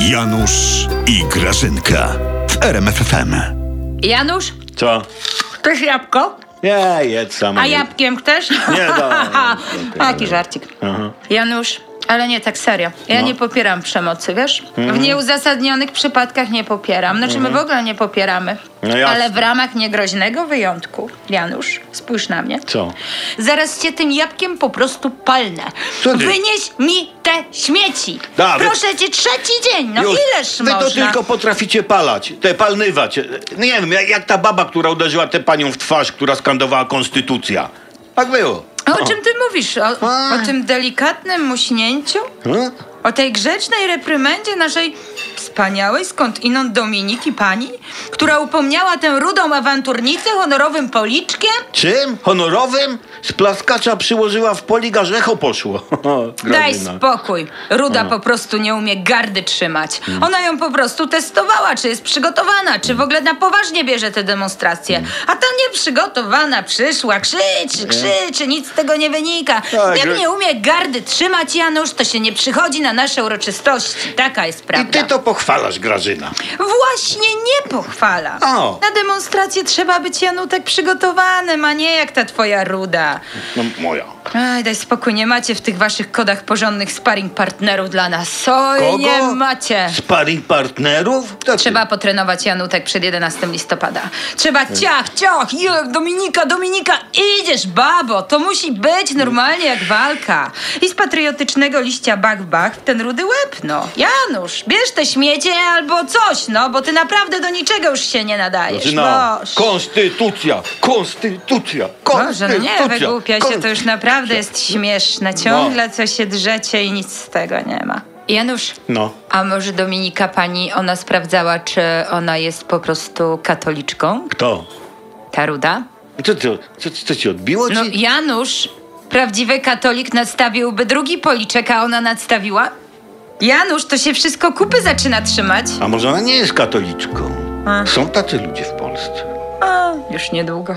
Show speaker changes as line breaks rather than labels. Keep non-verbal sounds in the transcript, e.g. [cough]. Janusz i Grażynka w RMFFM.
Janusz,
Co?
chcesz jabłko?
Nie, jedz sam.
A jabłkiem chcesz?
Nie,
[laughs]
no.
Taki żarcik. Janusz, ale nie tak serio. Ja
No.
nie popieram przemocy, wiesz?
Mhm.
W nieuzasadnionych przypadkach nie popieram. Znaczy, my w ogóle nie popieramy.
No jasne.
ale w ramach niegroźnego wyjątku, Janusz, spójrz na mnie.
Co?
Zaraz cię tym jabłkiem po prostu palnę.
Co ty?
Wynieś mi te śmieci.
Da, wy-
Proszę cię, trzeci dzień. No
Już.
ileż
Wy
można?
to tylko potraficie palać, te palnywać. Nie wiem, jak, jak ta baba, która uderzyła tę panią w twarz, która skandowała konstytucja. Tak było.
A o czym ty mówisz? O,
A.
o tym delikatnym muśnięciu?
Hmm?
O tej grzecznej reprymendzie naszej wspaniałej skądinąd Dominiki pani, która upomniała tę rudą awanturnicę honorowym policzkiem?
Czym? Honorowym? Z plaskacza przyłożyła w poligarz, echo poszło. [laughs]
Daj
Grażyna.
spokój. Ruda po prostu nie umie gardy trzymać.
Mm.
Ona ją po prostu testowała, czy jest przygotowana, czy w ogóle na poważnie bierze te demonstracje.
Mm.
A ta nieprzygotowana przyszła, krzyczy, krzyczy, nic z tego nie wynika.
Tak,
Jak
Gra-
nie umie gardy trzymać, Janusz, to się nie przychodzi na nasze uroczystości. Taka jest
I
prawda.
ty to pochwalasz, Grażyna.
Właśnie nie pochwala.
O.
Na demonstrację trzeba być, Janutek, przygotowanym, a nie jak ta twoja ruda.
No moja.
Aj, daj spokój, nie macie w tych waszych kodach porządnych sparring partnerów dla nas. Oj,
Kogo?
nie macie.
Sparing partnerów? To ty.
Trzeba potrenować Janutek przed 11 listopada. Trzeba ciach, ciach, je, Dominika, Dominika, idziesz, babo. To musi być normalnie jak walka. I z patriotycznego liścia bach, w bach w ten rudy łeb, no. Janusz, bierz te śmiecie albo coś, no, bo ty naprawdę do niczego już się nie nadajesz.
Grażyna,
Boż.
konstytucja, konstytucja,
Boże,
konstytucja.
no nie, wygłupia się, to już naprawdę jest śmieszne. Ciągle
No.
co się drzecie i nic z tego nie ma. Janusz,
No.
a może Dominika pani, ona sprawdzała, czy ona jest po prostu katoliczką,
Kto?
ta ruda?
Co, co, co, co ci odbiło?
No
ci?
Janusz, prawdziwy katolik nadstawiłby drugi policzek, a ona nadstawiła? Janusz, to się wszystko kupy zaczyna trzymać.
A może ona nie jest katoliczką?
A.
Są tacy ludzie w Polsce.
A, już niedługo.